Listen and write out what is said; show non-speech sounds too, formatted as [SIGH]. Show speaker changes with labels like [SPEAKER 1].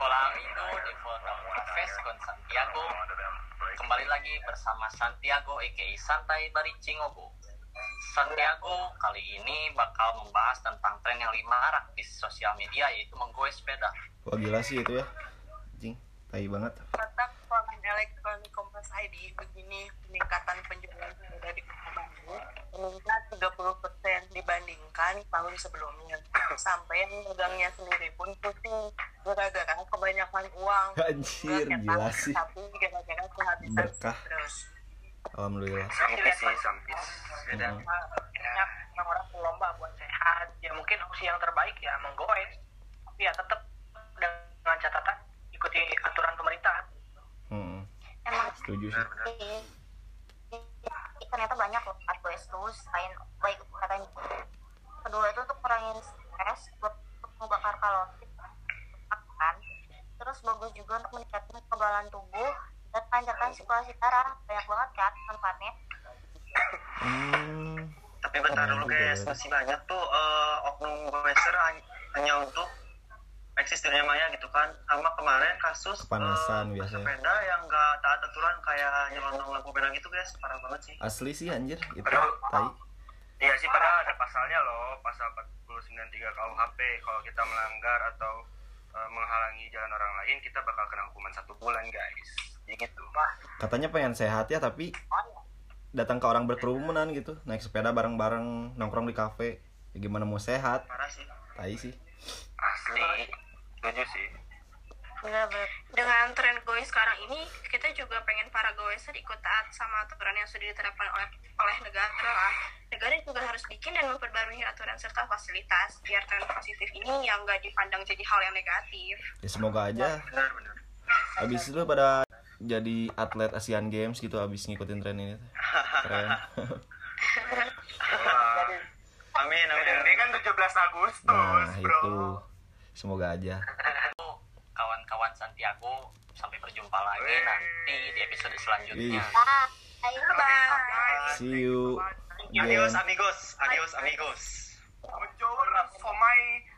[SPEAKER 1] Bang Indo di Florida Con Santiago. Kembali lagi bersama Santiago aka Santai Baricingogo. Santiago kali ini bakal membahas tentang tren yang lima marak di sosial media yaitu menggoes sepeda.
[SPEAKER 2] Wah gila sih itu ya. Anjing, tai banget.
[SPEAKER 3] Kontak Forum Elektronik Kompas ID begini peningkatan penjualan sepeda di Kota Bandung meningkat 30% dibandingkan tahun sebelumnya. Sampai yang megangnya sendiri pun pusing gara-gara kebanyakan uang.
[SPEAKER 2] [LAUGHS] Anjir,
[SPEAKER 3] Gua cetak,
[SPEAKER 2] gila sih.
[SPEAKER 3] Tapi gara-gara kehabisan
[SPEAKER 2] Berkah.
[SPEAKER 3] terus.
[SPEAKER 2] Alhamdulillah.
[SPEAKER 4] Sampis sih, sampis. Beda.
[SPEAKER 2] Mm-mm.
[SPEAKER 3] Banyak orang-orang berlomba buat sehat.
[SPEAKER 4] Ya mungkin opsi yang terbaik ya menggoes. Tapi ya tetap dengan catatan ikuti aturan pemerintah.
[SPEAKER 2] Mm-mm.
[SPEAKER 5] emang
[SPEAKER 2] Setuju sih.
[SPEAKER 5] sih ternyata banyak loh hard boys tools lain baik katanya kedua itu untuk kurangin stres buat untuk membakar kalori makan terus bagus juga untuk meningkatkan kekebalan tubuh dan panjatkan sirkulasi darah banyak banget kan manfaatnya
[SPEAKER 2] Hmm.
[SPEAKER 4] Tapi bentar
[SPEAKER 2] Oh,
[SPEAKER 4] dulu
[SPEAKER 2] gitu
[SPEAKER 4] guys,
[SPEAKER 2] ya.
[SPEAKER 4] masih banyak tuh eh, oknum goeser hany- hanya untuk eksis dunia maya gitu kan. Sama kemarin kasus
[SPEAKER 2] Kepanasan
[SPEAKER 4] eh,
[SPEAKER 2] biasanya.
[SPEAKER 4] sepeda yang nggak taat aturan kayak nyelonong lampu merah gitu guys, parah banget sih.
[SPEAKER 2] Asli sih anjir itu
[SPEAKER 6] Aduh.
[SPEAKER 2] tai.
[SPEAKER 6] Iya sih
[SPEAKER 4] Ah.
[SPEAKER 6] padahal ada pasalnya loh, pasal 493 KUHP kalau kita melanggar atau eh, menghalangi jalan orang lain kita bakal kena hukuman satu bulan guys. Ya gitu.
[SPEAKER 2] Katanya pengen sehat ya tapi datang ke orang berkerumunan gitu, naik sepeda bareng-bareng, nongkrong di kafe. Ya gimana mau sehat?
[SPEAKER 4] Parah sih.
[SPEAKER 2] Tai sih.
[SPEAKER 6] Asli. Setuju sih.
[SPEAKER 7] dengan tren goes sekarang ini kita juga pengen para goeser ikut taat sama aturan yang sudah diterapkan oleh oleh negara lah negara juga harus bikin dan memperbarui aturan serta fasilitas biar tren positif ini yang nggak dipandang jadi hal yang negatif
[SPEAKER 2] Ya semoga aja
[SPEAKER 6] Benar benar.
[SPEAKER 2] abis itu pada jadi atlet Asian Games gitu abis ngikutin tren ini. Keren. [LAUGHS]
[SPEAKER 4] Amin, amin.
[SPEAKER 6] Ini kan 17 Agustus,
[SPEAKER 2] Nah, itu. Semoga aja.
[SPEAKER 1] Kawan-kawan Santiago sampai berjumpa lagi nanti di episode selanjutnya.
[SPEAKER 2] Ih.
[SPEAKER 5] ah ayo
[SPEAKER 2] See you.
[SPEAKER 4] Adios
[SPEAKER 2] Again.
[SPEAKER 4] amigos, adios amigos.
[SPEAKER 6] Bonjour, somai.